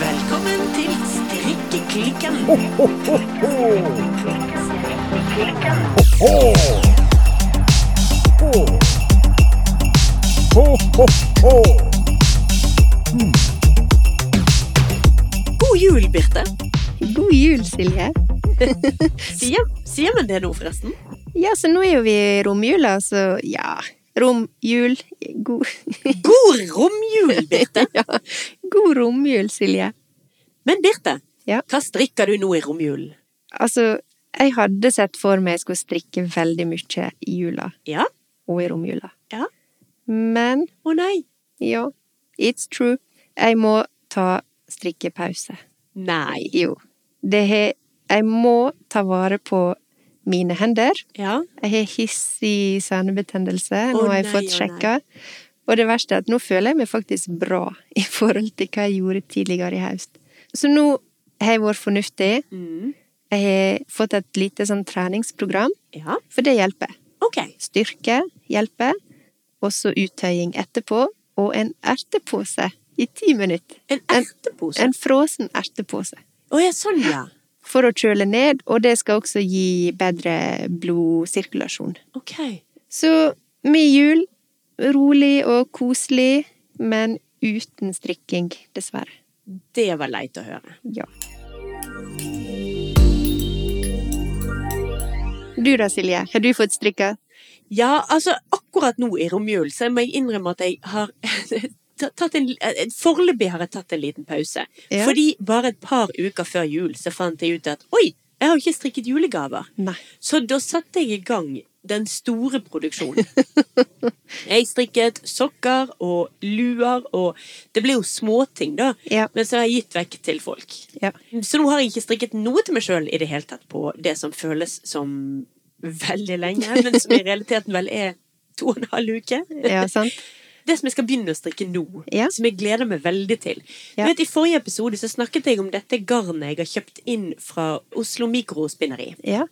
Velkommen til Strikkeklikken. Strikkeklikken. God jul, Birte. God jul, Silje. Sier, sier man det nå, forresten? Ja, så nå er jo vi i romjula, så ja Romjul. God, God romjul, Birte. ja. God romjul, Silje. Men Birte, Ja. hva strikker du nå i romjulen? Altså, jeg hadde sett for meg jeg skulle strikke veldig mye i jula Ja? og i romjula. Ja. Men Å nei. ja, it's true. Jeg må ta strikkepause. Nei. Jo. Det har Jeg må ta vare på mine hender. Ja? Jeg har hissig senebetennelse. Nå Å har jeg nei, fått å sjekka. Og det verste er at nå føler jeg meg faktisk bra i forhold til hva jeg gjorde tidligere i høst. Så nå har jeg vært fornuftig. Mm. Jeg har fått et lite sånn treningsprogram, Ja? for det hjelper. Ok. Styrke hjelper. Også uttøying etterpå. Og en ertepose i ti minutter. En ertepose. Å En frosen ertepose. ja, sånn ja. For å kjøle ned, og det skal også gi bedre blodsirkulasjon. Ok. Så med jul, rolig og koselig, men uten strikking, dessverre. Det var leit å høre. Ja. Du da, Silje, har du fått strikka? Ja, altså akkurat nå i romjulen så må jeg innrømme at jeg har tatt en, en Foreløpig har jeg tatt en liten pause. Ja. Fordi bare et par uker før jul så fant jeg ut at oi, jeg har jo ikke strikket julegaver. Nei. Så da satte jeg i gang den store produksjonen. Jeg strikket sokker og luer og Det ble jo småting, da. Ja. Men så har jeg gitt vekk til folk. Ja. Så nå har jeg ikke strikket noe til meg sjøl i det hele tatt på det som føles som veldig lenge, men som i realiteten vel er to og en halv uke. Ja, sant? Det som jeg skal begynne å strikke nå, Ja. som jeg gleder meg veldig til. Ja. Du vet, I forrige episode så snakket jeg om dette garnet jeg har kjøpt inn fra Oslo Mikrospinneri. Ja.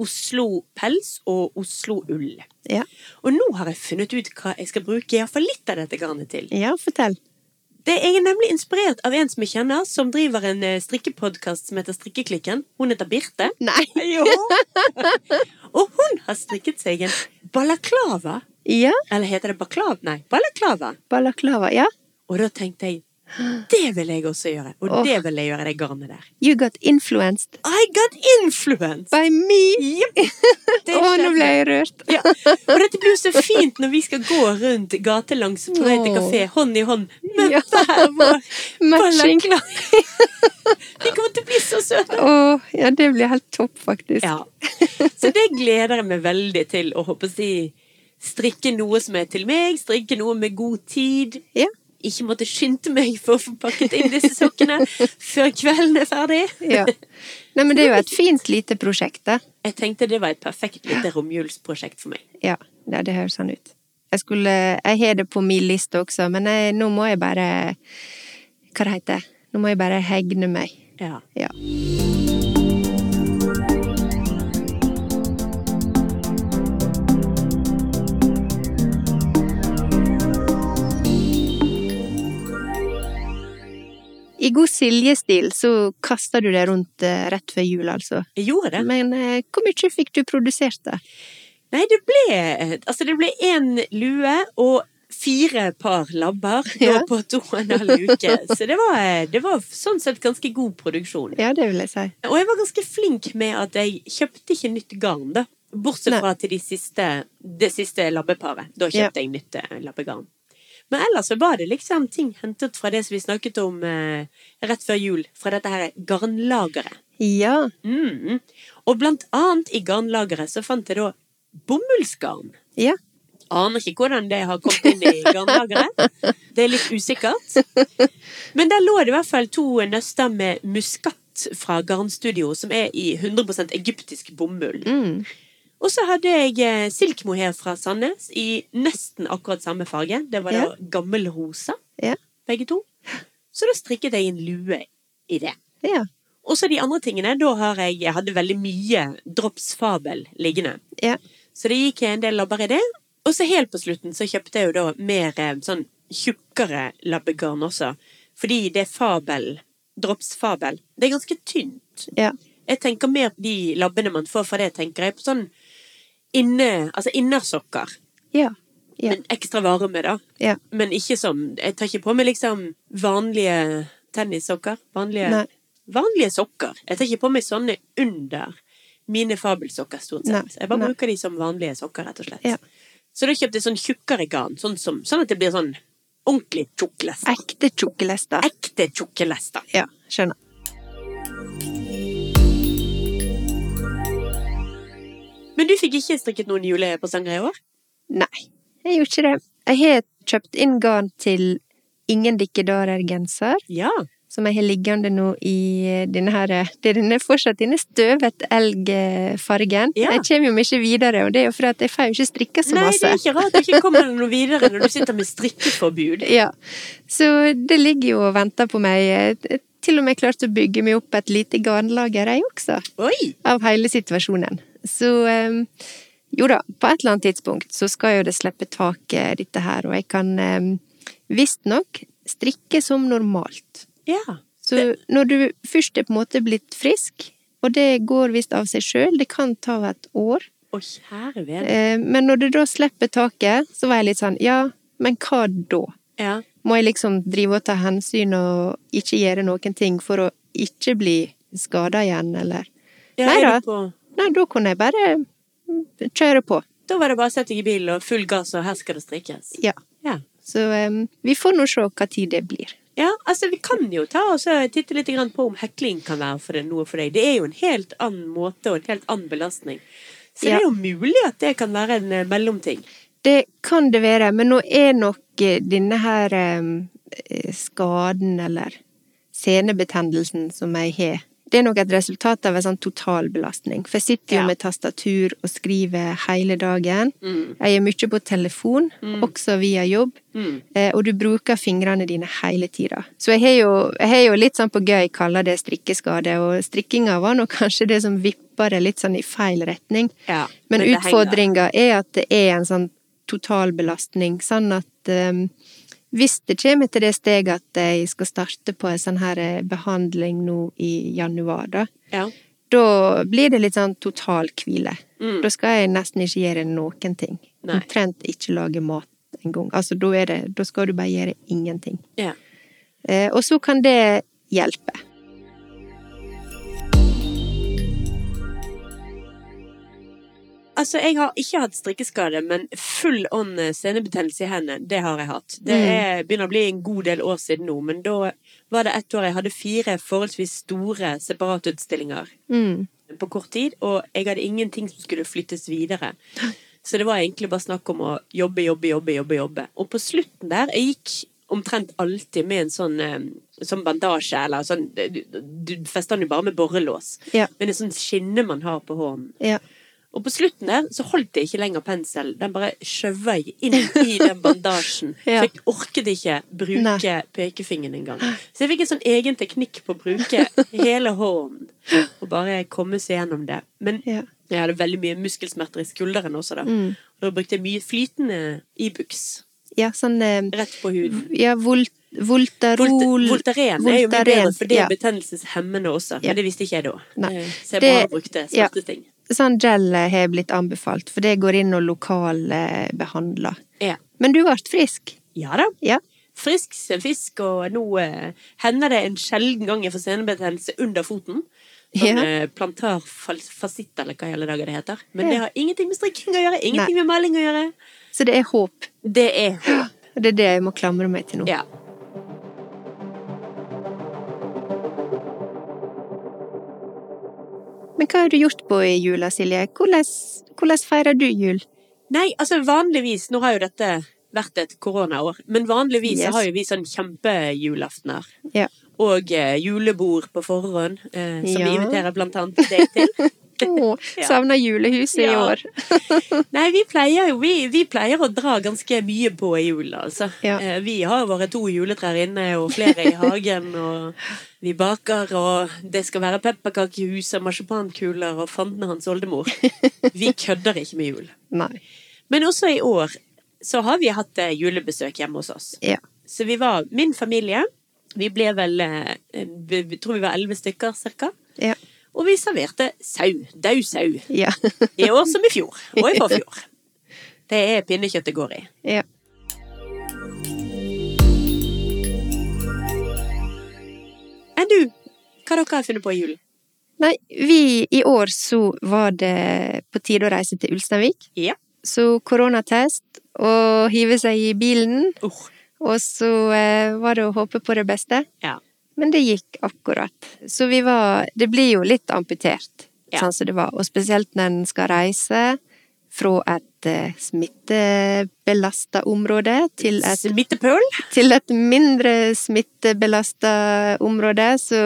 Oslo Pels og Oslo Ull. Ja. Og nå har jeg funnet ut hva jeg skal bruke iallfall litt av dette garnet til. ja, fortell. Det Jeg er nemlig inspirert av en som jeg kjenner, som driver en eh, strikkepodkast som heter Strikkeklikken. Hun heter Birte. Nei. og hun har strikket seg en balaklava. Ja, Eller heter det baklav? Nei, balaklava. balaklava. Ja. Og da tenkte jeg det vil jeg også gjøre. Og Åh. det vil jeg gjøre, det garnet der. You got influenced I got influence! by me! Jepp. Å, nå ble jeg rørt. Ja. Og dette blir jo så fint når vi skal gå rundt gatelangs på vei til kafé, hånd i hånd, med Ja. hver vår Matching. balaklava. Vi kommer til å bli så søte! Å, ja, det blir helt topp, faktisk. Ja. Så det gleder jeg meg veldig til å håper jeg, si, strikke noe som er til meg, strikke noe med god tid. Ja. Ikke måtte skynde meg for å få pakket inn disse sokkene før kvelden er ferdig. Ja. Nei, men det er jo et fint lite prosjekt, da. Jeg tenkte det var et perfekt lite romjulsprosjekt for meg. Ja, ja, det høres sånn ut. Jeg skulle Jeg har det på min liste også, men jeg, nå må jeg bare Hva det heter det? Nå må jeg bare hegne meg. Ja. Ja. I god Silje-stil så kaster du det rundt eh, rett før jul, altså. Jeg gjorde det. Men eh, hvor mye fikk du produsert det? Nei, det ble Altså, det ble én lue og fire par labber da Ja. på to og en halv uke. Så det var, det var sånn sett ganske god produksjon. Ja, det vil jeg si. Og jeg var ganske flink med at jeg kjøpte ikke nytt garn, da. Bortsett Nei. fra til de siste, det siste labbeparet. Da Ja. kjøpte jeg nytt eh, labbegarn. Men ellers så var det liksom ting hentet fra det som vi snakket om eh, rett før jul. Fra dette her garnlageret. Ja. Mm. Og blant annet i garnlageret så fant jeg da bomullsgarn. Ja. Aner ikke hvordan det har kommet inn i garnlageret. Det er litt usikkert. Men der lå det i hvert fall to nøster med muskat fra Garnstudio, som er i 100 egyptisk bomull. Mm. Og så hadde jeg eh, silkmohair fra Sandnes i nesten akkurat samme farge. Det var da Ja. gammel rosa, Ja. begge to. Så da strikket jeg en lue i det. Ja. Og så de andre tingene. Da har jeg, jeg hadde veldig mye Drops Fabel liggende. Ja. Så det gikk en del labber i det. Og så helt på slutten så kjøpte jeg jo da mer eh, sånn tjukkere labbegarn også. Fordi det er fabel. Drops fabel. Det er ganske tynt. Ja. Jeg tenker mer på de labbene man får fra det, tenker jeg på sånn inne, altså innersokker. Ja. Ja. Men ekstra varme, da. Ja. Men ikke som Jeg tar ikke på meg liksom vanlige tennissokker. Vanlige, Nei. vanlige sokker. Jeg tar ikke på meg sånne under mine fabelsokker, stort sett. Nei. Jeg bare Nei. bruker de som vanlige sokker, rett og slett. Ja. Så da kjøpte jeg sånn tjukkere garn, sånn, som, sånn at det blir sånn ordentlig tjukk lest. Ekte tjukke lester. Ekte tjukke lester. Ja, skjønner. Men du fikk ikke strikket noen julepresanger i år? Nei, jeg gjorde ikke det. Jeg har kjøpt inn garn til Ingen dikkedarer-genser, Ja. som jeg har liggende nå i denne her Det er denne fortsatt denne støvet elgfargen. Ja. Jeg kommer jo mye videre, og det er jo fordi at jeg får jo ikke strikka så Nei, det masse. er ikke rart du ikke kommer deg noe videre når du sitter med strikkeforbud. Ja, så det ligger jo og venter på meg. Jeg har Til og med klarte å bygge meg opp et lite garnlager, jeg også, Oi! av hele situasjonen. Så em, jo da, på et eller annet tidspunkt så skal jo det slippe taket, dette her, og jeg kan um, visstnok strikke som normalt. Ja. Så når du først er på en måte blitt frisk, og det går visst av seg sjøl, det kan ta et år, Å, kjære vene. eh, men når du da slipper taket, så var jeg litt sånn ja, men hva da? Ja. Må jeg liksom drive og ta hensyn og ikke gjøre noen ting for å ikke bli skada igjen, eller? Ja, Nei er da. du på- Nei, da kunne jeg bare mm, kjøre på. Da var det bare å sette deg i bilen og full gass, og her skal det strikkes. Ja. Ja. Så em, vi får nå se hva tid det blir. ja, altså vi kan jo ta og så titte litt grann på om hekling kan være for det, noe for deg. Det er jo en helt annen måte og en helt annen belastning. Så det Ja. er jo mulig at det kan være en eh, mellomting. Det kan det være, men nå er nok eh, denne her em, eh, skaden eller senebetennelsen som jeg har, det er nok et resultat av en sånn totalbelastning. For jeg sitter jo Ja. med tastatur og skriver hele dagen. Jeg er mye på telefon, også via jobb. Mm. Eh, Og du bruker fingrene dine hele tida. Så jeg har, jo, jeg har jo litt sånn på gøy kaller det strikkeskade, og strikkinga var nå kanskje det som vippa det litt sånn i feil retning. Ja, men Men, det utfordringa er at det er en sånn totalbelastning, sånn at eh, hvis det kommer til det steget at jeg skal starte på en sånn her eh, behandling nå i januar, da, Ja. da blir det litt sånn total hvile. Mm. Da skal jeg nesten ikke gjøre noen ting. Nei. Omtrent ikke lage mat engang. Altså, da, er det, da skal du bare gjøre ingenting. ja. Eh, og så kan det hjelpe. Altså, jeg har ikke hatt strikkeskade, men full on eh, senebetennelse i hendene, det har jeg hatt. Det Mm. er, begynner å bli en god del år siden nå, men da var det ett år jeg hadde fire forholdsvis store separatutstillinger Mm. på kort tid, og jeg hadde ingenting som skulle flyttes videre. Så det var egentlig bare snakk om å jobbe, jobbe, jobbe, jobbe. jobbe. Og på slutten der, jeg gikk omtrent alltid med en sånn, eh, sånn bandasje, eller sånn Du, du fester den jo bare med borrelås, Ja. men en sånn skinne man har på hånden. Ja. Og på slutten der så holdt jeg ikke lenger pensel. Den bare skjøva jeg inn i den bandasjen. Ja. Så jeg orket ikke bruke pekefingeren engang. Så jeg fikk en sånn egen teknikk på å bruke hele hånden. Og bare komme seg gjennom det. Men Ja. jeg hadde veldig mye muskelsmerter i skulderen også, da. Mm. Og da brukte jeg mye flytende Ibux ja, sånn eh, rett på huden. Ja, vol Volt Voltarol Voltaren er jo mye bedre, Voltaren, for det ja. er betennelseshemmende også. Ja. Men det visste ikke jeg da. Nei. Eh, Så jeg Det- bare brukte ja. smerteting. Sånn gel eh, har blitt anbefalt, for det går inn og lokalbehandler. Ja. Men du ble frisk. ja da. Ja. frisk som fisk, og nå eh, hender det en sjelden gang jeg får senebetennelse under foten. Sånn Ja. eh, plantarfasitt, eller hva i alle dager det heter. Men Ja. det har ingenting med strikking å gjøre, ingenting med maling å gjøre. Så det er håp. Det er Og det er det jeg må klamre meg til nå. Ja. Men hva har du gjort på i jula, Silje? Hvordan, hvordan feirer du jul? Nei, altså vanligvis Nå har jo dette vært et koronaår, men vanligvis så Yes. har jo vi sånn kjempejulaftener. Ja. Og eh, julebord på forhånd, eh, som vi Ja. inviterer blant annet deg til. Å, Ja. savner julehuset i Ja. år. Nei, vi pleier jo vi, vi pleier å dra ganske mye på i jula, altså. Ja. Eh, Vi har våre to juletrær inne og flere i hagen, og vi baker, og det skal være pepperkakehus og marsipankuler og fanden og hans oldemor. Vi kødder ikke med jul. Nei. Men også i år så har vi hatt eh, julebesøk hjemme hos oss. Ja. Så vi var min familie. Vi ble vel eh, vi- vi tror vi var elleve stykker, cirka. Ja. Og vi serverte sau. Daud sau. Ja. I år som i fjor. Og i forfjor. Det er pinnekjøtt det går i. ja. Enn du, hva dere har funnet på i julen? Nei, vi i år så var det på tide å reise til Ulsteinvik. Ja. Så koronatest og hive seg i bilen, Uh, og så eh, var det å håpe på det beste. Ja. Men det gikk akkurat. Så vi var Det blir jo litt amputert, Ja. sånn som det var. Og spesielt når en skal reise fra et eh, smittebelasta område til et altså, Smittepøl? til et mindre smittebelasta område, så,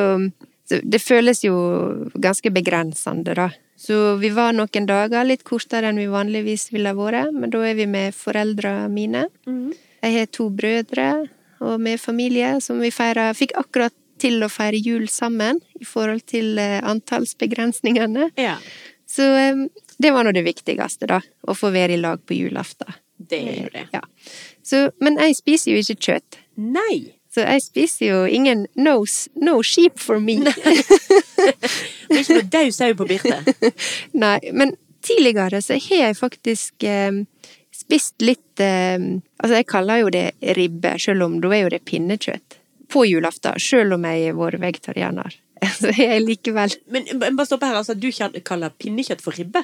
så det føles jo ganske begrensende, da. Så vi var noen dager, litt kortere enn vi vanligvis ville vært, men da er vi med foreldra mine. Mm. Jeg har to brødre og med familie som vi feira Fikk akkurat til å feire jul sammen i forhold til eh, antallsbegrensningene. Ja. Så eh, det var nå det viktigste, da. Å få være i lag på julaften. Det er jo det. Ja. Så, men jeg spiser jo ikke kjøtt. Nei. Så jeg spiser jo ingen no, s- no sheep for me. Det er ikke noe daud sau på Birte. Nei, men tidligere så har jeg faktisk eh, spist litt eh, Altså, jeg kaller jo det ribbe, selv om da er jo det pinnekjøtt. På julaften, selv om jeg har vært vegetarianer. Så har jeg likevel Men b- bare stopp her, altså. Du kjall- kaller pinnekjøtt for ribbe?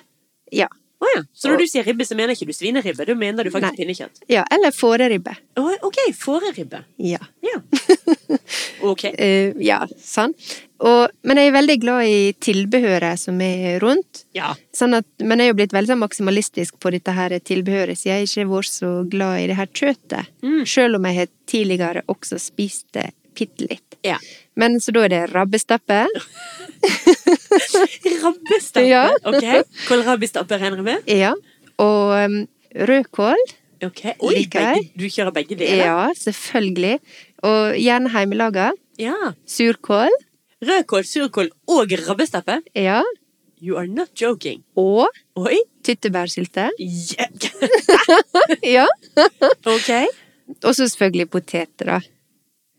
Ja. Å ja. Så når du sier ribbe, så mener ikke du svineribbe? Da mener du faktisk Nei. pinnekjøtt? ja eller fåreribbe. Å, OK. Fåreribbe. Ja. Ja. OK. Eh, ja, sånn. Og, men jeg er veldig glad i tilbehøret som er rundt. Ja. Sånn at, men jeg er jo blitt veldig sånn maksimalistisk på dette her tilbehøret, så jeg har ikke vært så glad i det her kjøttet. Selv om jeg har tidligere også spist det bitte litt. ja. Men så da er det rabbestappe. Rabbestappe. Ja. OK. Kålrabistappe regner jeg med? Ja. Og um, rødkål. OK. Oi, Liker begge, jeg. du kjører begge deler? Ja, selvfølgelig. Og gjerne hjemmelaga. Ja. Surkål. Rødkål, surkål og rabbestappe? Ja. You are not joking. Og Oi! tyttebærsylte. Ja. ja. OK. Og så selvfølgelig poteter, da.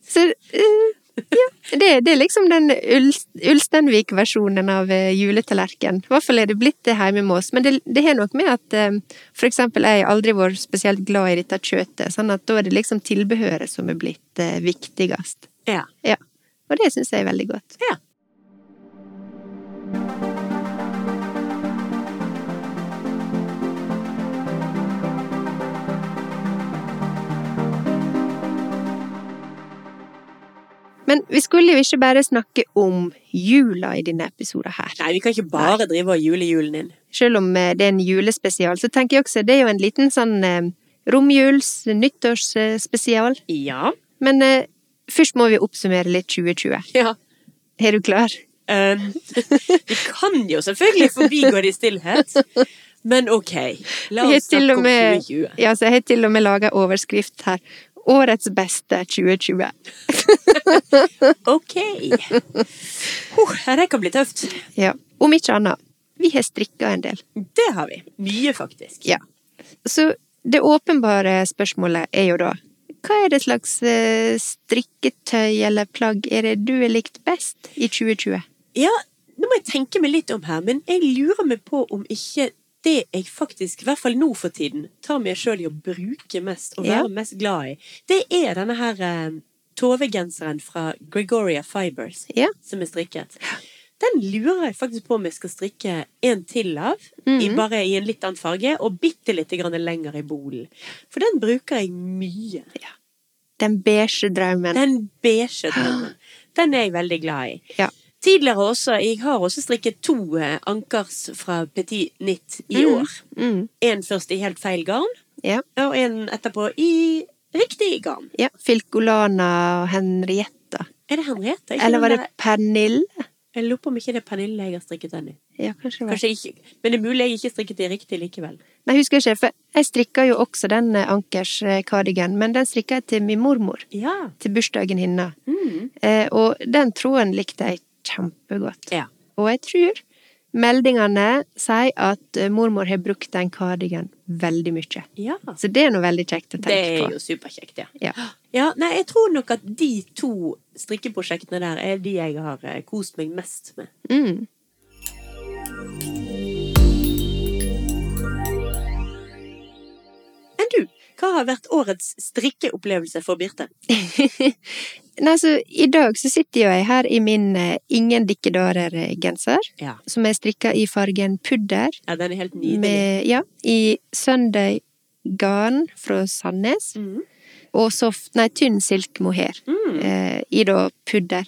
Så eh, ja, det, det er liksom den Uls- Ulsteinvik-versjonen av eh, juletallerken. I hvert fall er det blitt det hjemme med oss. Men det, det har noe med at eh, for eksempel jeg har aldri vært spesielt glad i dette kjøttet, sånn at da er det liksom tilbehøret som er blitt eh, viktigst. Ja. Ja. Og det syns jeg er veldig godt. ja. Men vi skulle jo ikke bare snakke om jula i denne episoden her. Nei, vi kan ikke bare drive og jule julen din. Selv om eh, det er en julespesial, så tenker jeg også det er jo en liten sånn eh, romjuls-, nyttårsspesial. Ja. Men eh, først må vi oppsummere litt 2020. ja. Er du klar? Um, vi kan jo selvfølgelig forbigå det i stillhet, men ok. La Jeg oss har til snakke og om med- 2020. Ja, så jeg har til og med laga overskrift her. Årets beste 2020. Ok. Huh, ja, det kan bli tøft. Ja. Om ikke annet. Vi har strikka en del. Det har vi. Mye, faktisk. Ja. Så det åpenbare spørsmålet er jo da hva er det slags eh, strikketøy eller plagg er det du har likt best i 2020? Ja, nå må jeg tenke meg litt om her, men jeg lurer meg på om ikke det jeg faktisk, i hvert fall nå for tiden, tar meg sjøl i å bruke mest og Ja. være mest glad i, det er denne her eh, Tove-genseren fra Gregoria Fibers Ja. som er strikket. Den lurer jeg faktisk på om jeg skal strikke en til av, i, Mm. bare i en litt annen farge, og bitte litt grann lenger i bolen. For den bruker jeg mye. Den beige drømmen. Den beige drømmen. Den er jeg veldig glad i. Ja. Tidligere også, jeg har også strikket to eh, ankers fra Petit Knit i Mm. år. Mm. En først i helt feil garn, Ja. og en etterpå i riktig garn. ja. Filcolana og Henrietta. Er det Henriette? Ikke Eller var den det Pernille? der- Jeg lurer på om ikke det er Pernille jeg har strikket den i. Ja, kanskje det var. Kanskje ikke, men det er mulig jeg ikke strikket det riktig likevel. Nei, husker jeg ikke, for jeg strikka jo også den eh, Ankers eh, cardigan, men den strikka jeg til min mormor. Ja. Til bursdagen hennes. Mm. Eh, og den tråden likte jeg kjempegodt. Ja. Og jeg tror Meldingene sier at eh, mormor har brukt den kardigan veldig mye. Ja. Så det er noe veldig kjekt å Det tenke er på. jo superkjekt, ja. Ja. Ja, nei, jeg tror nok at de to strikkeprosjektene der er de jeg har eh, kost meg mest med. Mm. Enn du, hva har vært årets strikkeopplevelse for Birte? Nei, så I dag så sitter jo jeg her i min eh, Ingen dikkedarer-genser, Ja. som er strikka i fargen pudder, Ja, den er helt nydelig. med, ja, i Sunday garn fra Sandnes, Mm. og soft, nei, tynn silk mohair, Mm. eh, i da pudder.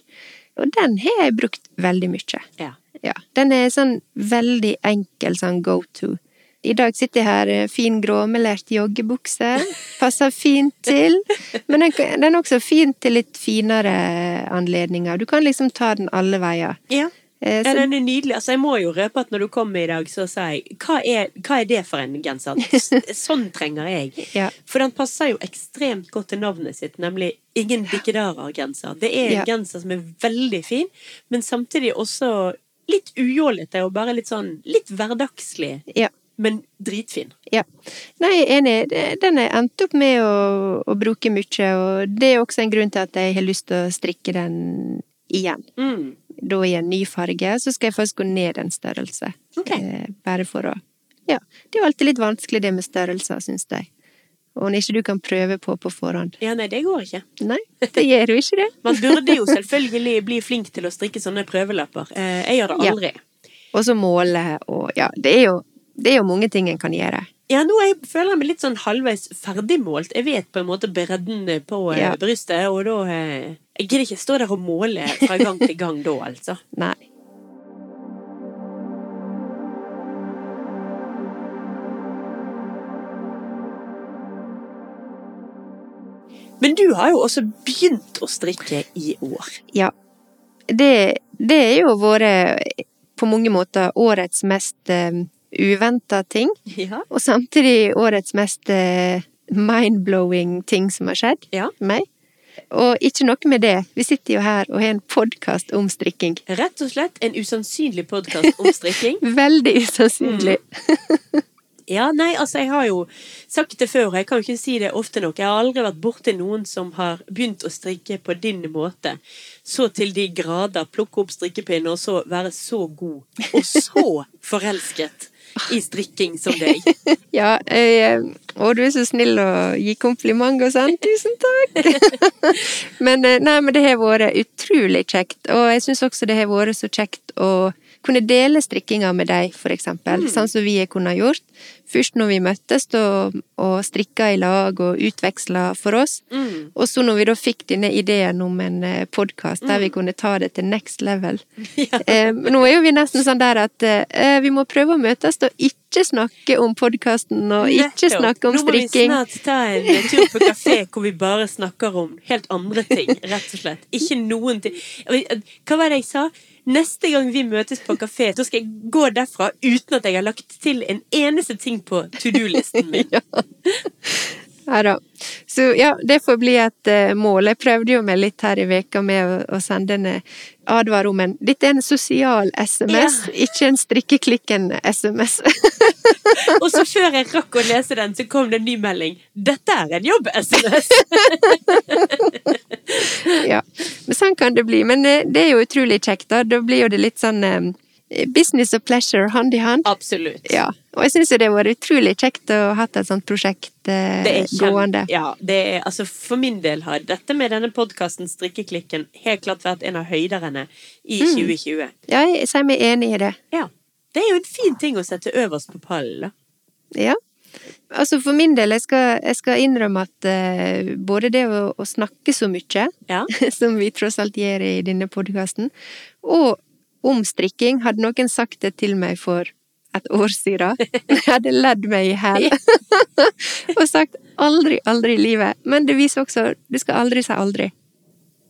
Og den har jeg brukt veldig mye. Ja. Ja, den er sånn veldig enkel sånn go to. I dag sitter jeg her eh, fin gråmelert joggebukse. Passer fint til. Men den, kan- den er også fin til litt finere anledninger. Du kan liksom ta den alle veier. Ja. Eh, ja, Så, den er nydelig. Altså, jeg må jo røpe at når du kom i dag, så sa jeg hva er, hva er det for en genser? S- Sånn trenger jeg. ja, For den passer jo ekstremt godt til navnet sitt, nemlig Ingen dikkedarer-genser. Det er en Ja. genser som er veldig fin, men samtidig også litt ujålete og bare litt sånn litt hverdagslig, ja, men dritfin. ja. Nei, jeg er enig. Det- Den har jeg endt opp med å, å bruke mye, og det er også en grunn til at jeg har lyst til å strikke den igjen. Mm. Da i en ny farge, så skal jeg faktisk gå ned en størrelse. Ok. Eh, bare for å Ja. Det er jo alltid litt vanskelig det med størrelser, syns jeg. Og når ikke du kan prøve på på forhånd. Ja, nei, det går ikke. Nei, det gjør jo ikke det. Man burde jo selvfølgelig bli flink til å strikke sånne prøvelapper. Eh, Jeg gjør det Ja. aldri. Og så måle og Ja, det er jo, det er jo mange ting en kan gjøre. Ja, nå er jeg, føler jeg meg litt sånn halvveis ferdigmålt. Jeg vet på en måte bredden på eh, Ja. brystet, og da eh, Jeg gidder ikke stå der og måle fra gang til gang da, altså. Nei. Men du har jo også begynt å strikke i år. Ja. Det, det er jo vært på mange måter årets mest eh, uventa ting. Ja. Og samtidig årets mest eh, mind-blowing ting som har skjedd Ja. meg. Og ikke noe med det. Vi sitter jo her og har en podkast om strikking. Rett og slett en usannsynlig podkast om strikking. Veldig usannsynlig. Ja, nei, altså, jeg har jo sagt det før, og jeg kan jo ikke si det ofte nok. Jeg har aldri vært borti noen som har begynt å strikke på din måte. Så til de grader plukke opp strikkepinnen, og så være så god, og så forelsket i strikking som deg. Ja, eh, og du er så snill å gi kompliment og sånn. Tusen takk! men, eh, nei, men det har vært utrolig kjekt, og jeg syns også det har vært så kjekt å kunne dele strikkinga med deg, for eksempel, Mm. sånn som vi har kunnet gjort. Først når vi møttes og, og strikka i lag og utveksla for oss, Mm. og så når vi da fikk denne ideen om en podkast der vi kunne ta det til next level. Mm. Ja. Eh, men nå er jo vi nesten sånn der at eh, vi må prøve å møtes og ikke snakke om podkasten og ikke Nettopp. snakke om strikking. Nå må vi snart ta en eh, tur på kafé hvor vi bare snakker om helt andre ting, rett og slett. Ikke noen ting. Hva var det jeg sa? Neste gang vi møtes på kafé, så skal jeg gå derfra uten at jeg har lagt til en eneste ting på to do-listen min. Ja da. Så ja, det får bli et eh, mål. Jeg prøvde jo meg litt her i veka med å, å sende en eh, advar om en Dette er en sosial SMS, ikke en strikkeklikken-SMS. Og så før jeg rakk å lese den, så kom det en ny melding. Dette er en jobb-SMS! ja. Men sånn kan det bli. Men eh, det er jo utrolig kjekt, da. Da blir jo det litt sånn eh, business og pleasure hand i hand. Absolutt. Ja, og jeg syns jo det har vært utrolig kjekt å ha hatt et sånt prosjekt eh, Det er kjem- gående. Ja, det er, altså for min del har dette med denne podkasten Strikkeklikken helt klart vært en av høyderne i Mm. 2020. Ja, jeg sier meg enig i det. Ja. Det er jo en fin ting å sette øverst på pallen. da. Ja. Altså for min del, jeg skal, jeg skal innrømme at eh, både det å, å snakke så mye, Ja. som vi tross alt gjør i denne podkasten, og om strikking Hadde noen sagt det til meg for et år siden, jeg hadde ledd meg i hæl og sagt 'aldri, aldri i livet'. Men det viser også du skal aldri si aldri.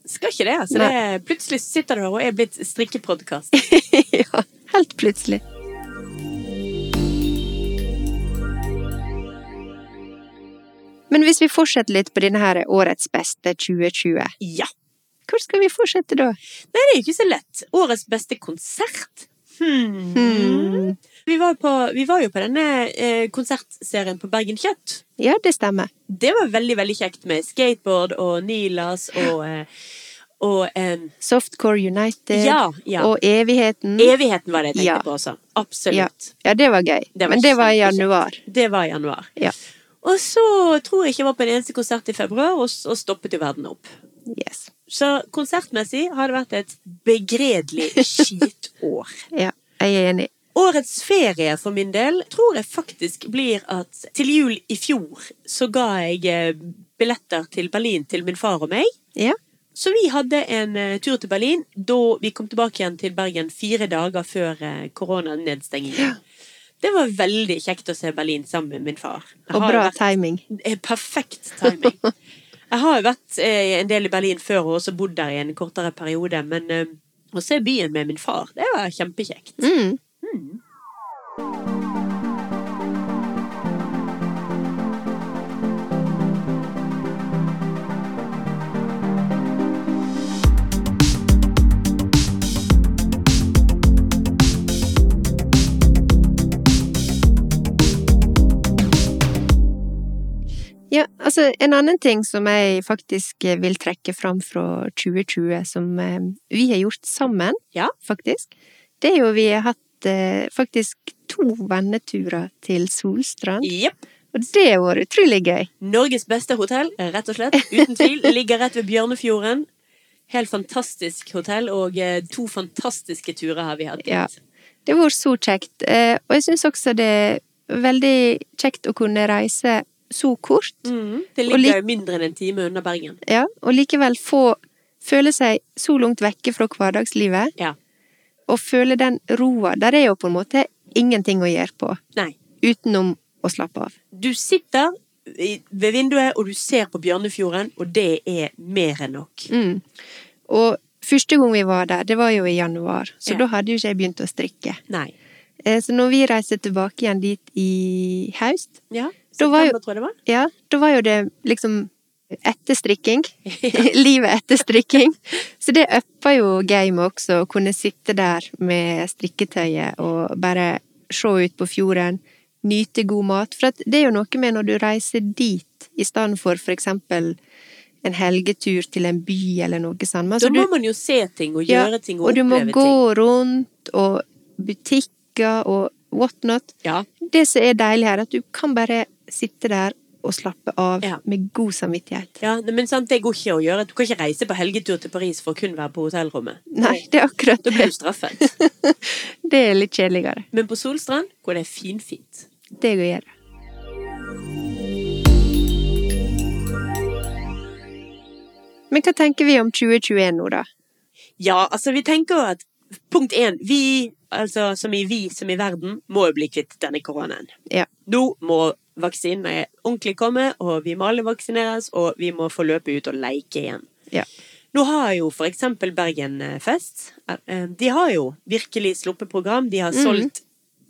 Skal ikke det, altså. Det, er- plutselig sitter du her og er blitt strikkepodkast. ja, helt plutselig. Men hvis vi fortsetter litt på denne her årets beste 2020, Ja. hvor skal vi fortsette da? Nei, det er jo ikke så lett. Årets beste konsert. Hmm. Hmm. Vi, var på, vi var jo på denne eh, konsertserien på Bergen Kjøtt. Ja, det stemmer. Det var veldig, veldig kjekt med skateboard og Nilas og, eh, og eh, Softcore United Ja, ja. E- og Evigheten. Evigheten var det jeg tenkte Ja. på også. ja. Absolutt. ja, det var gøy. Det var Men det var i kjempekjekt. januar. Det var i januar. Ja. Og så tror jeg ikke jeg var på en eneste konsert i februar, og så stoppet jo verden opp. Yes. Så konsertmessig har det vært et begredelig skitår. Ja, jeg er enig. Årets ferie for min del tror jeg faktisk blir at til jul i fjor så ga jeg eh, billetter til Berlin til min far og meg. Ja. Så vi hadde en eh, tur til Berlin da vi kom tilbake igjen til Bergen fire dager før eh, koronanedstengingen. Det var veldig kjekt å se Berlin sammen med min far. Jeg Og har bra vært- timing. Eh, Perfekt timing. Jeg har jo vært eh, en del i Berlin før og også bodd der i en kortere periode, men eh, å se byen med min far, det var kjempekjekt. Mm. Ja, altså En annen ting som jeg faktisk eh, vil trekke fram fra 2020, som eh, vi har gjort sammen, Ja. faktisk, det er jo vi har hatt eh, faktisk to venneturer til Solstrand. Jepp. Og det har vært utrolig gøy. Norges beste hotell, rett og slett. Uten tvil. Ligger rett ved Bjørnefjorden. Helt fantastisk hotell, og eh, to fantastiske turer har vi hatt. dit. Ja. Det har vært så kjekt. Eh, og jeg syns også det er veldig kjekt å kunne reise så kort. Mhm. Det Og ligger jo mindre enn en time unna Bergen. Ja, og likevel få føle seg så langt vekke fra hverdagslivet, Ja. og føle den roa. Der er jo på en måte ingenting å gjøre på, Nei. utenom å slappe av. Du sitter i- ved vinduet, og du ser på Bjørnefjorden, og det er mer enn nok. Mm. Og første gang vi var der, det var jo i januar, så Ja. da hadde jo ikke jeg begynt å strikke. Nei. Eh, Så når vi reiser tilbake igjen dit i høst, Ja. Da var jo- September, tror jeg det var. ja, da var jo det liksom etter strikking. Ja. Livet etter strikking. Så det uppa jo gamet også, å kunne sitte der med strikketøyet og bare se ut på fjorden, nyte god mat. For at det er jo noe med når du reiser dit, i stedet for for eksempel en helgetur til en by eller noe sånt. Men Da altså, må du, man jo se ting og Ja, gjøre ting og, og du må oppleve gå ting. rundt, og butikker og whatnot. Ja. Det som er deilig her, er at du kan bare sitte der og slappe av Ja. med god samvittighet. ja, nei, men sant, det går ikke å gjøre. Du kan ikke reise på helgetur til Paris for å kun være på hotellrommet. Nei, det er akkurat Da blir det. du straffet. Det er litt kjedeligere. Men på Solstrand går det finfint. Det går gjøre. Men hva tenker vi om 2021 nå, da? Ja, altså, vi tenker jo at punkt én Vi, altså som i vi som i verden, må jo bli kvitt denne koronaen. Ja. Nå må vaksinene ordentlig komme, og vi må alle vaksineres, og vi må få løpe ut og leke igjen. Ja. Nå har jo for eksempel Bergen eh, Fest eh, eh, De har jo virkelig sluppet program. De har Mhm. solgt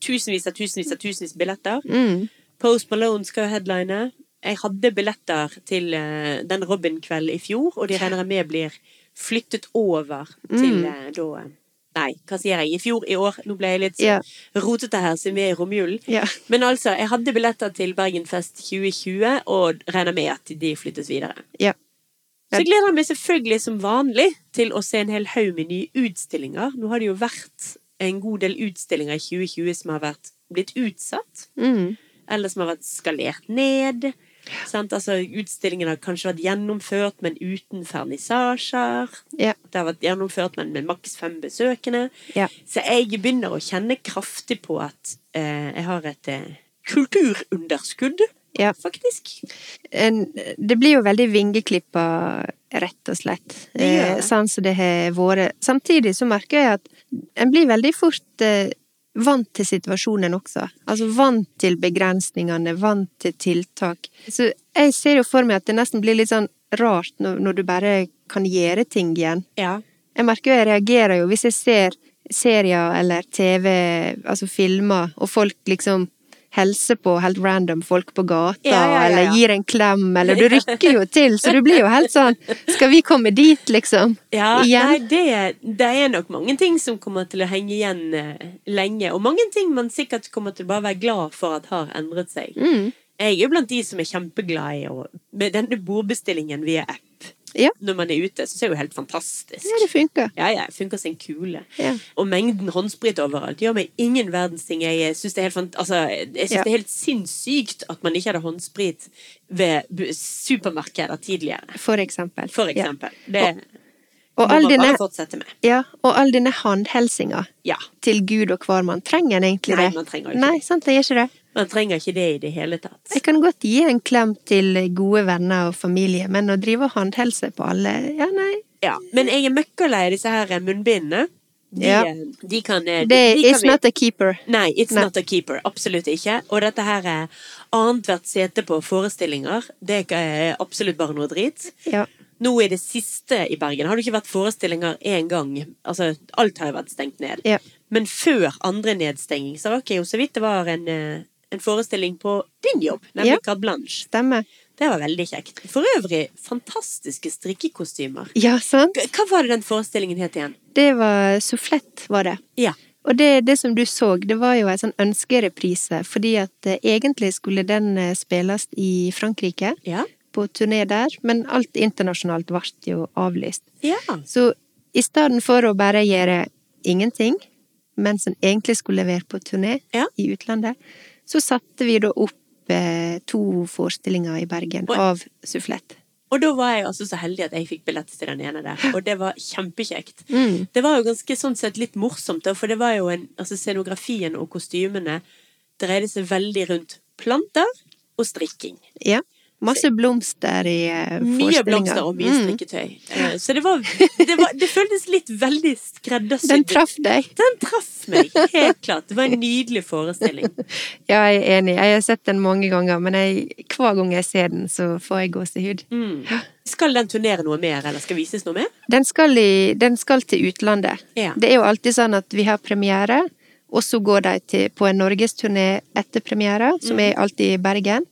tusenvis av tusenvis av tusenvis av billetter. Mm. Post Malone skal jo headline. Jeg hadde billetter til eh, den Robin-kvelden i fjor, og de regner jeg med blir flyttet over Mm. til eh, da eh, Nei, hva sier jeg? I fjor, i år. Nå ble jeg litt Ja. rotete her, siden vi er i romjulen. Ja. Men altså, jeg hadde billetter til Bergenfest 2020, og regner med at de flyttes videre. ja. Så jeg gleder meg selvfølgelig som vanlig til å se en hel haug med nye utstillinger. Nå har det jo vært en god del utstillinger i 2020 som har vært, blitt utsatt, Mm. eller som har vært skalert ned. Sant? Altså, utstillingen har kanskje vært gjennomført, men uten vernissasjer. Ja. Det har vært gjennomført, men med maks fem besøkende. Ja. Så jeg begynner å kjenne kraftig på at eh, jeg har et eh, kulturunderskudd, Ja. faktisk. En, det blir jo veldig vingeklippa, rett og slett. Det gjør Eh, det. sånn som det har vært. Samtidig så merker jeg at en blir veldig fort eh, vant til situasjonen også. Altså vant til begrensningene, vant til tiltak. Så jeg ser jo for meg at det nesten blir litt sånn rart når, når du bare kan gjøre ting igjen. Ja. Jeg merker jo jeg reagerer jo hvis jeg ser serier eller TV, altså filmer, og folk liksom hilser på helt random folk på gata, Ja, ja, ja, ja. eller gir en klem, eller du rykker jo til, så du blir jo helt sånn Skal vi komme dit, liksom? Ja, Igjen. nei, det, det er nok mange ting som kommer til å henge igjen eh, lenge. Og mange ting man sikkert kommer til å bare være glad for at har endret seg. Mm. Jeg er jo blant de som er kjempeglad i å Med denne bordbestillingen via app Ja. når man er ute, syns jeg er jo helt Ja, fantastisk. det funker. Ja, ja, funker som en kule. Ja. Og mengden håndsprit overalt gjør meg ingen verdens ting. Jeg syns det, er helt fant- altså, jeg synes Ja. det er helt sinnssykt at man ikke hadde håndsprit ved bu- supermarkeder tidligere, For eksempel. for Ja. eksempel. Det Og må all man denne, bare fortsette med. ja, og all denne handhelsinga Ja. til Gud og hvermann, trenger en egentlig Nei, det? man trenger jo ikke Nei, sant, jeg gjør ikke det. Man trenger ikke det i det hele tatt. Jeg kan godt gi en klem til gode venner og familie, men å drive og håndhelse på alle Ja, nei. Ja. Men jeg er møkkalei av disse her munnbindene. De, Ja. de kan eh, de Det er kan It's vi- not a keeper. Nei, It's Nei. Not a Keeper. Absolutt ikke. Og dette her er annethvert sete på forestillinger. Det er eh, absolutt bare noe drit. Ja. Nå i det siste i Bergen har det ikke vært forestillinger én gang. Altså, alt har jo vært stengt ned. ja. Men før andre nedstenging så var det jo så vidt det var en, eh, en forestilling på din jobb, nemlig Ja. Carte Blanche. Stemmer. Det var veldig kjekt. For øvrig fantastiske strikkekostymer. Ja, sant? Hva var det den forestillingen het igjen? Det var soufflett, var det. Ja. Og det, det som du så, det var jo en sånn ønskereprise, fordi at eh, egentlig skulle den eh, spilles i Frankrike, Ja. på turné der, men alt internasjonalt ble jo avlyst. ja. Så i stedet for å bare gjøre ingenting, men som egentlig skulle være på turné Ja. i utlandet, så satte vi da opp eh, to forestillinger i Bergen Oi. av Sufflett. Og da var jeg altså så heldig at jeg fikk billett til den ene der, og det var kjempekjekt. Mm. Det var jo ganske sånn sett litt morsomt, da, for det var jo en Altså scenografien og kostymene dreide seg veldig rundt planter og strikking. Ja. Masse blomster i eh, Mye forestillinga. blomster og mye Mm. strikketøy. Eh, Så det var Det, var, det føltes litt veldig skreddersydd. Den traff deg. Den traff meg, helt klart. Det var en nydelig forestilling. Ja, jeg er enig. Jeg har sett den mange ganger, men jeg, hver gang jeg ser den, så får jeg gåsehud. Mm. Skal den turnere noe mer, eller skal vises noe mer? Den skal, i, den skal til utlandet. Ja. Det er jo alltid sånn at vi har premiere, og så går de til, på en norgesturné etter premiere, som er alltid i Bergen.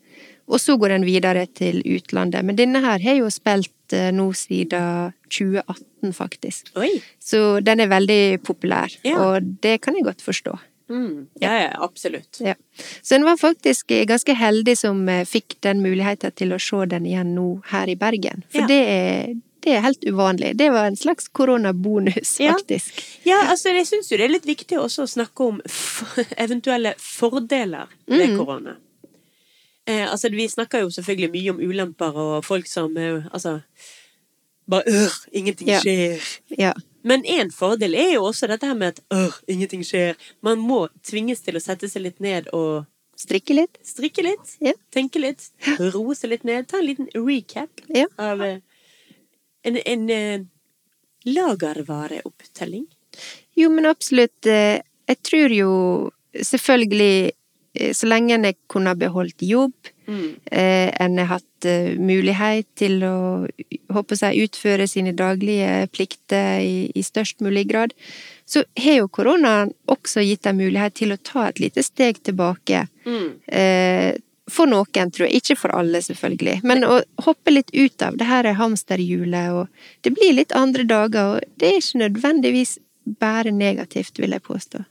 Og så går den videre til utlandet. Men denne her har jo spilt eh, nå siden 2018, faktisk. Oi! Så den er veldig populær, Ja. og det kan jeg godt forstå. Mm. Ja, ja, absolutt. Ja. Så en var faktisk eh, ganske heldig som eh, fikk den muligheten til å se den igjen nå her i Bergen. For Ja. det, er, det er helt uvanlig. Det var en slags koronabonus, Ja. faktisk. Ja, altså, jeg syns jo det er litt viktig også å snakke om f eventuelle fordeler ved korona. Eh, altså, vi snakker jo selvfølgelig mye om ulemper og folk som eh, altså Bare øh, ingenting Ja. skjer. Ja. Men en fordel er jo også dette her med at øh, ingenting skjer. Man må tvinges til å sette seg litt ned og Strikke litt. strikke litt, Ja. tenke litt, roe seg litt ned. Ta en liten recap Ja. av eh, en, en eh, lagervareopptelling. Jo, men absolutt. eh, Jeg tror jo selvfølgelig eh, så lenge en kunne ha beholdt jobb, Mm. eh, en har hatt eh, mulighet til å håper jeg, utføre sine daglige plikter i, i størst mulig grad, så har jo koronaen også gitt dem mulighet til å ta et lite steg tilbake. Mm. Eh, for noen, tror jeg. Ikke for alle, selvfølgelig. Men å hoppe litt ut av det her er hamsterhjulet, og det blir litt andre dager, og det er ikke nødvendigvis bare negativt, vil jeg påstå.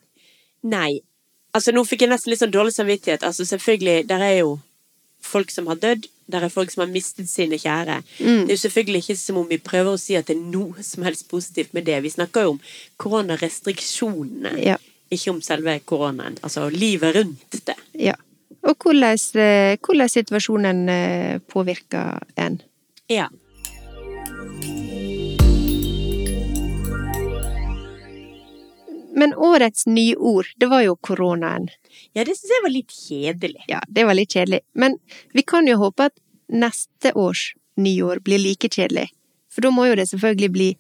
Nei. Altså, nå fikk jeg nesten litt sånn dårlig samvittighet. Altså, selvfølgelig, der er jo folk som har dødd. Der er folk som har mistet sine kjære. Mm. Det er jo selvfølgelig ikke som om vi prøver å si at det er noe som helst positivt med det. Vi snakker jo om koronarestriksjonene, Ja. ikke om selve koronaen. Altså livet rundt det. ja. Og hvordan, eh, hvordan situasjonen eh, påvirker en. Ja. Men årets nyord, det var jo koronaen. ja, det syns jeg var litt kjedelig. Ja, det var litt kjedelig. Men vi kan jo håpe at neste års nyår blir like kjedelig. For da må jo det selvfølgelig bli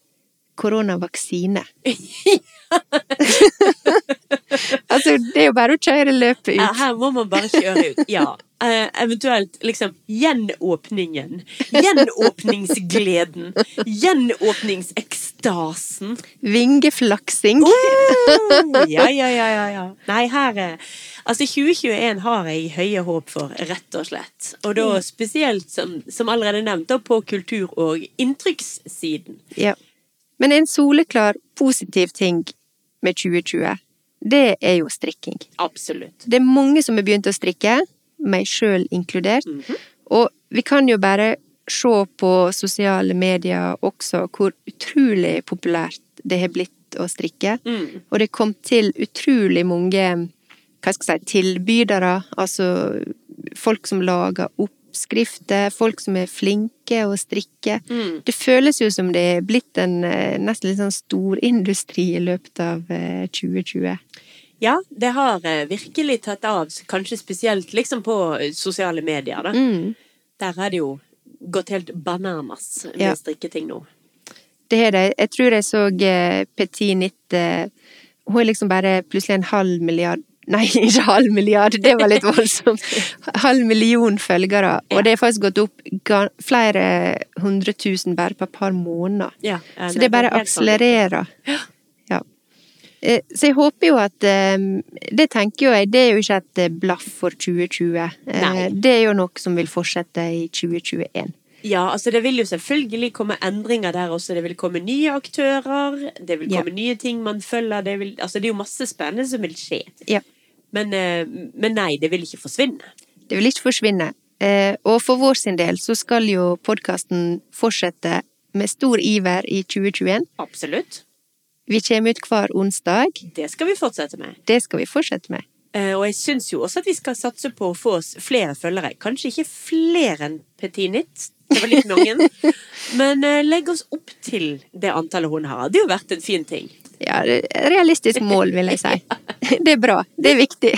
koronavaksine. altså, det er jo bare å kjøre løpet Ja, ut. her må man bare kjøre ut. Ja. Eh, eventuelt liksom gjenåpningen. Gjenåpningsgleden. Gjenåpningsekstasen. Dasen. Vingeflaksing. Wow! Ja, ja, ja, ja, ja. Nei, her eh, Altså, 2021 har jeg høye håp for, rett og slett. Og da spesielt, som, som allerede nevnt, da på kultur- og inntrykkssiden. Ja. Men en soleklar positiv ting med 2020, det er jo strikking. Absolutt. Det er mange som har begynt å strikke, meg sjøl inkludert. Og vi kan jo bare se på sosiale medier også hvor utrolig populært det har blitt å strikke. Mm. Og det kom til utrolig mange hva skal jeg si, tilbydere, altså folk som lager oppskrifter, folk som er flinke å strikke. Mm. Det føles jo som det er blitt en eh, nesten litt sånn storindustri i løpet av eh, 2020. Ja, det har eh, virkelig tatt av, så kanskje spesielt liksom på eh, sosiale medier. Da. Mm. Der har det jo gått helt bananas med Ja. strikketing nå. Det har de. Jeg tror jeg så eh, Petit Nitt eh, Hun er liksom bare plutselig en halv milliard Nei, ikke halv milliard, det var litt voldsomt. Halv million følgere. Ja. Og det har faktisk gått opp ga- flere hundre tusen bare på et par måneder. Ja, eh, Så nei, det bare er helt vanvittig. akselererer. Ja. Eh, Så jeg håper jo at eh, Det tenker jo jeg, det er jo ikke et eh, blaff for 2020. Eh, Nei. Det er jo noe som vil fortsette i 2021. Ja, altså det vil jo selvfølgelig komme endringer der også. Det vil komme nye aktører, det vil Ja. komme nye ting man følger. Det, vil, altså det er jo masse spennende som vil skje. Ja. Men, eh, men nei, det vil ikke forsvinne. Det vil ikke forsvinne. Eh, Og for vår sin del så skal jo podkasten fortsette med stor iver i 2021. Absolutt. Vi kommer ut hver onsdag. Det skal vi fortsette med. Det skal vi fortsette med. Eh, Og jeg syns jo også at vi skal satse på å få oss flere følgere. Kanskje ikke flere enn Petit Nitt. Det var litt mange. Men eh, legg oss opp til det antallet hun har. Det hadde jo vært en fin ting. Ja, det er et realistisk mål, vil jeg si. Det er bra. Det er viktig.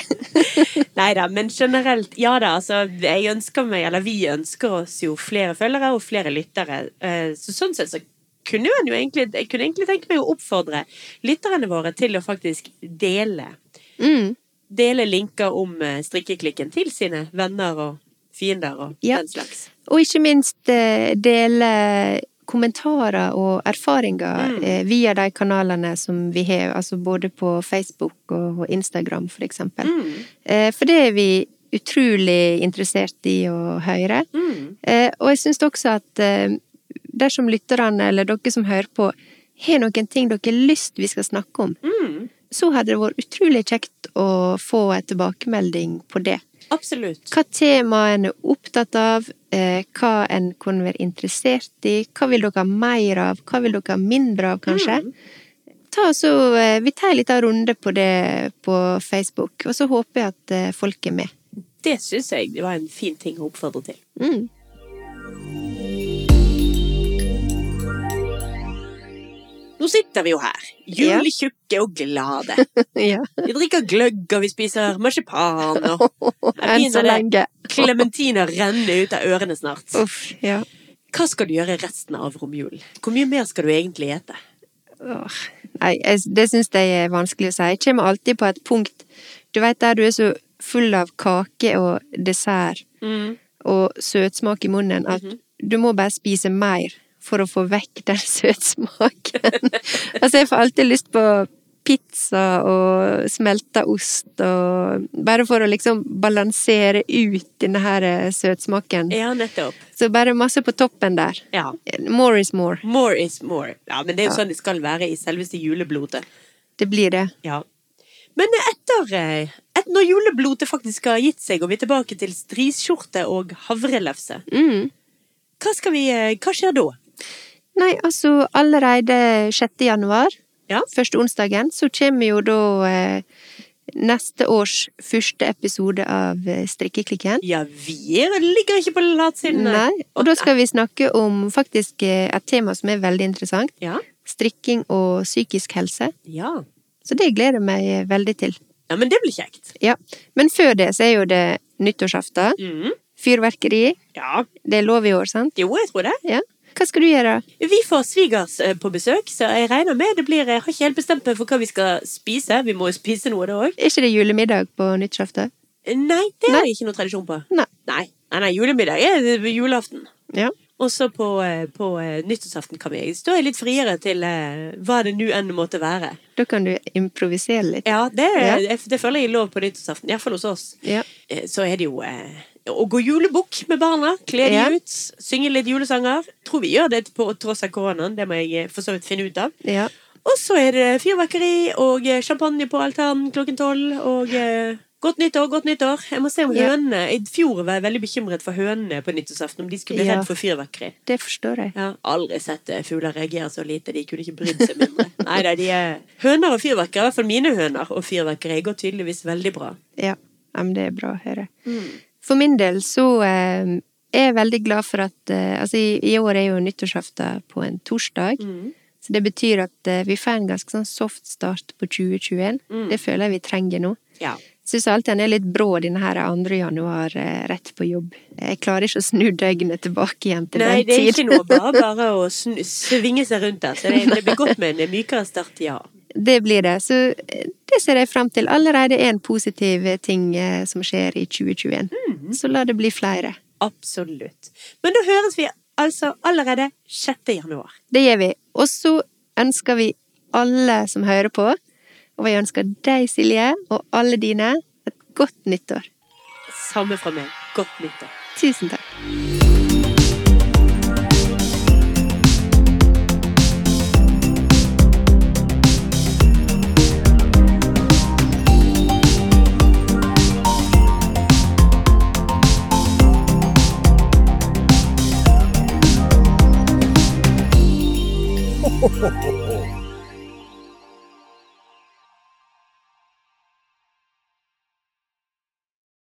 Nei da, men generelt, ja da, altså jeg ønsker meg, eller vi ønsker oss jo flere følgere og flere lyttere. Eh, Så sånn sett så kunne man jo egentlig, jeg kunne egentlig tenke meg å oppfordre lytterne våre til å faktisk dele. Mm. Dele linker om eh, strikkeklikken til sine venner og fiender og Ja. den slags. Og ikke minst eh, dele kommentarer og erfaringer Mm. eh, via de kanalene som vi har, altså både på Facebook og og Instagram, for eksempel. Mm, Eh, For det er vi utrolig interessert i å høre. mm. Eh, Og jeg syns også at eh, dersom lytterne, eller dere som hører på, har noen ting dere har lyst vi skal snakke om, Mm, så hadde det vært utrolig kjekt å få en tilbakemelding på det absolutt. hva tema en er opptatt av, eh, hva en kunne være interessert i, hva vil dere ha mer av, hva vil dere ha mindre av, kanskje? Mm. Ta så, eh, vi tar en liten runde på det på Facebook, og så håper jeg at eh, folk er med. Det syns jeg det var en fin ting å oppfordre til. Mm. Nå sitter vi jo her, Ja. juletjukke og glade. ja. Vi drikker gløgg, og vi spiser marsipan, og Enn begynner så det. lenge. Klementiner renner ut av ørene snart. Uff, ja. Hva skal du gjøre resten av romjulen? Hvor mye mer skal du egentlig ete? Åh, Nei, jeg, det syns jeg er vanskelig å si. Jeg kommer alltid på et punkt Du vet der du er så full av kake og dessert Mm. og søtsmak i munnen at Mhm. du må bare spise mer for å få vekk den søtsmaken. altså, jeg får alltid lyst på pizza og smelta ost og Bare for å liksom balansere ut denne her eh, søtsmaken. Ja, nettopp. Så bare masse på toppen der. Ja. More is more. More is more. Ja, men det er jo Ja. sånn det skal være i selveste juleblodet. Det blir det. Ja. Men etter, eh, et, når juleblodet faktisk har gitt seg, og vi er tilbake til striskjorte og havrelefse, Mm. hva, skal vi, eh, hva skjer da? Nei, altså allerede 6. januar, Ja. første onsdagen, så kommer jo da eh, neste års første episode av eh, Strikkeklikken. Ja, vi er, ligger ikke på latsiden. Nei, og da skal vi snakke om faktisk eh, et tema som er veldig interessant. Ja. Strikking og psykisk helse. ja. Så det gleder jeg meg eh, veldig til. Ja, men det blir kjekt. Ja. Men før det så er jo det nyttårsaften. Mhm. Fyrverkeri. Ja. Det er lov i år, sant? Jo, jeg tror det. Ja. Hva skal du gjøre? Vi får svigers eh, på besøk, så jeg regner med det blir Jeg har ikke helt bestemt meg for hva vi skal spise. Vi må jo spise noe, da òg. Er ikke det julemiddag på nyttårsaften? Nei, det har jeg ikke noe tradisjon på. Nei. Nei, nei, nei julemiddag er eh, julaften. Ja. Og så på, eh, på eh, nyttårsaften kan vi stå litt friere til eh, hva det nå enn måtte være. Da kan du improvisere litt. Ja, det, eh, Ja. jeg- det føler jeg er lov på nyttårsaften, iallfall hos oss. Ja. Eh, Så er det jo eh, å gå julebukk med barna, kle de Ja. ut, synge litt julesanger. Tror vi gjør det på tross av koronaen, det må jeg eh, for så vidt finne ut av. ja. Og så er det fyrverkeri og eh, champagne på altanen klokken tolv. Og eh, godt nyttår, godt nyttår. Jeg må se om Ja. hønene I fjor var jeg veldig bekymret for hønene på nyttårsaften. Om de skulle bli Ja. redd for fyrverkeri. Det forstår jeg. Jeg har aldri sett eh, fugler reagere så lite. De kunne ikke brydd seg mindre. Nei, nei, de er Høner og fyrverkeri, i hvert fall mine høner og fyrverkeri, går tydeligvis veldig bra. Ja. ja men det er bra å høre. For min del så eh, er jeg veldig glad for at eh, Altså, i, i år er jo nyttårsaften på en torsdag. Mm. Så det betyr at eh, vi får en ganske sånn soft start på 2021. Mm. Det føler jeg vi trenger nå. Ja. Syns alltid han er litt brå, denne her 2. januar, eh, rett på jobb. Jeg klarer ikke å snu døgnet tilbake igjen til Nei, den det er tid. ikke noe bare bare å sn svinge seg rundt der. Så det, det blir godt med en mykere start, ja. Det blir det. Så eh, det ser jeg fram til. Allerede en positiv ting eh, som skjer i 2021. Mm. Så la det bli flere. Absolutt. Men da høres vi altså allerede 6. januar. Det gjør vi. Og så ønsker vi alle som hører på, og jeg ønsker deg, Silje, og alle dine, et godt nyttår. Samme fra meg. Godt nyttår. Tusen takk.